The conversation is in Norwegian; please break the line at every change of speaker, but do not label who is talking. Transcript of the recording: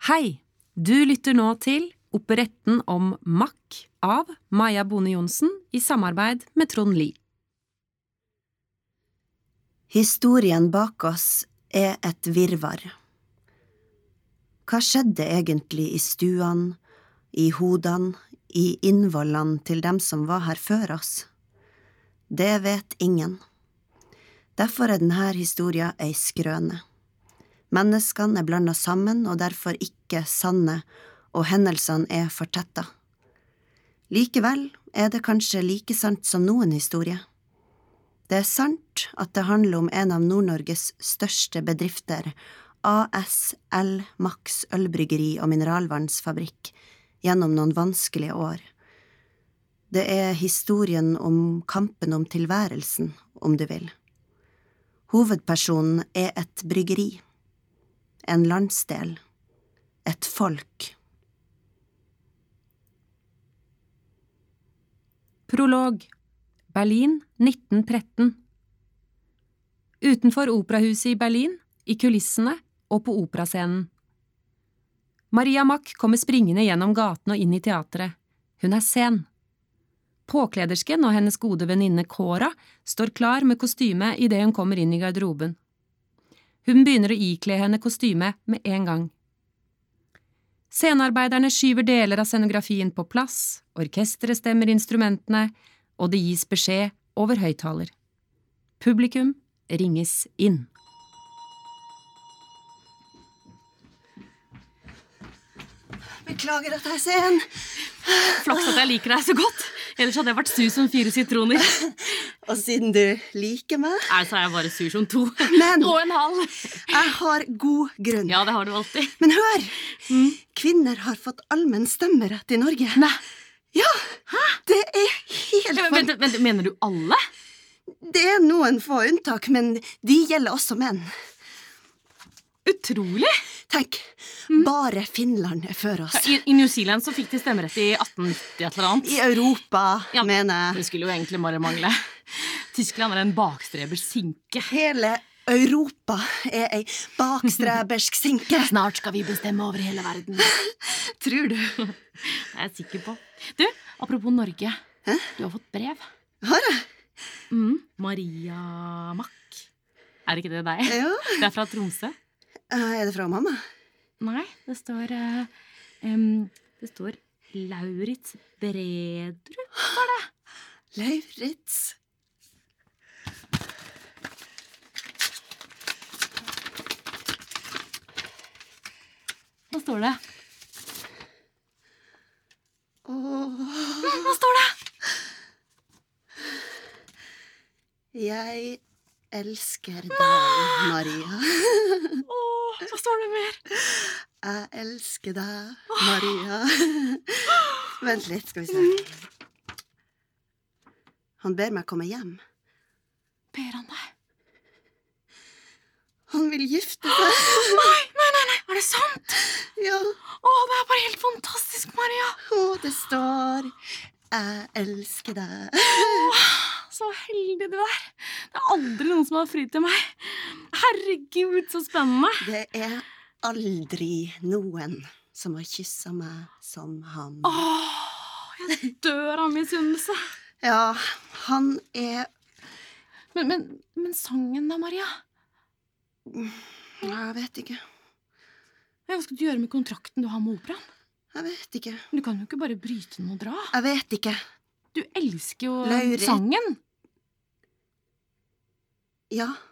Hei! Du lytter nå til operetten om Mack av Maja Bone Johnsen i samarbeid med Trond Lie.
Historien bak oss er et virvar. Hva skjedde egentlig i stuene, i hodene, i innvollene til dem som var her før oss? Det vet ingen. Derfor er denne historien ei skrøne. Menneskene er blanda sammen og derfor ikke sanne, og hendelsene er fortetta. Likevel er det kanskje like sant som noen historie. Det er sant at det handler om en av Nord-Norges største bedrifter, ASL Max ølbryggeri og mineralvannsfabrikk, gjennom noen vanskelige år. Det er historien om kampen om tilværelsen, om du vil. Hovedpersonen er et bryggeri en landsdel, et folk.
Prolog Berlin 1913 Utenfor operahuset i Berlin, i kulissene og på operascenen. Maria Mack kommer springende gjennom gaten og inn i teatret. Hun er sen. Påkledersken og hennes gode venninne Kåra står klar med kostyme idet hun kommer inn i garderoben. Hun begynner å ikle henne kostyme med en gang. Scenearbeiderne skyver deler av scenografien på plass, orkesteret stemmer instrumentene, og det gis beskjed over høyttaler. Publikum ringes inn.
Beklager at jeg er sen.
Flaks at jeg liker deg så godt. Ellers hadde jeg vært sur som fire sitroner.
Og siden du liker meg
Nei, så er jeg bare sur som to.
Men
Og en halv.
jeg har god grunn.
Ja, det har du alltid.
Men hør! Kvinner har fått allmenn stemmerett i Norge.
Mm. Nei.
Ja! Det er helt
Men,
fan-
vent, vent, mener du alle?
Det er noen få unntak, men de gjelder også menn.
Utrolig!
Tenk,
Mm.
bare Finland er før oss.
I, I New Zealand så fikk de stemmerett i 1890 et eller annet.
I Europa,
Ja.
mener jeg.
Det skulle jo egentlig bare mangle. Tyskland er en bakstrebers sinke.
Hele Europa er ei bakstrebersk sinke.
Snart skal vi bestemme over hele verden.
Tror du?
Det er jeg sikker på. Du, apropos Norge. Du har fått brev.
Har jeg?
Mm. Maria Mack. Er ikke det deg?
Ja.
Det er fra Tromsø.
Eh, Er det fra mamma?
Nei, det står eh, em, Det står Lauritz Bredrud.
Lauritz.
Hva står det?
Åh,
Hva står det?
jeg elsker deg, Maria.
Åh, hva står det mer?
Jeg elsker deg, Maria. Vent litt, skal vi se. Han ber meg komme hjem.
Ber han deg?
Han vil gifte seg.
Nei, nei, nei, nei, er det sant?
Ja,
Åh, det er bare helt fantastisk, Maria.
og det står 'Jeg elsker deg'.
Så heldig du er. Det er aldri noen som har fri til meg. Herregud, så spennende.
Det er aldri noen som har kyssa meg som han.
Åh, jeg dør av misunnelse.
Ja, han er
Men, men, men sangen da, Maria?
Jeg vet ikke.
Hva skal du gjøre med kontrakten du har med operaen?
Jeg vet ikke.
Du kan jo ikke bare bryte den og dra.
Jeg vet ikke.
Du elsker jo
Lauritz.
sangen.
Ja,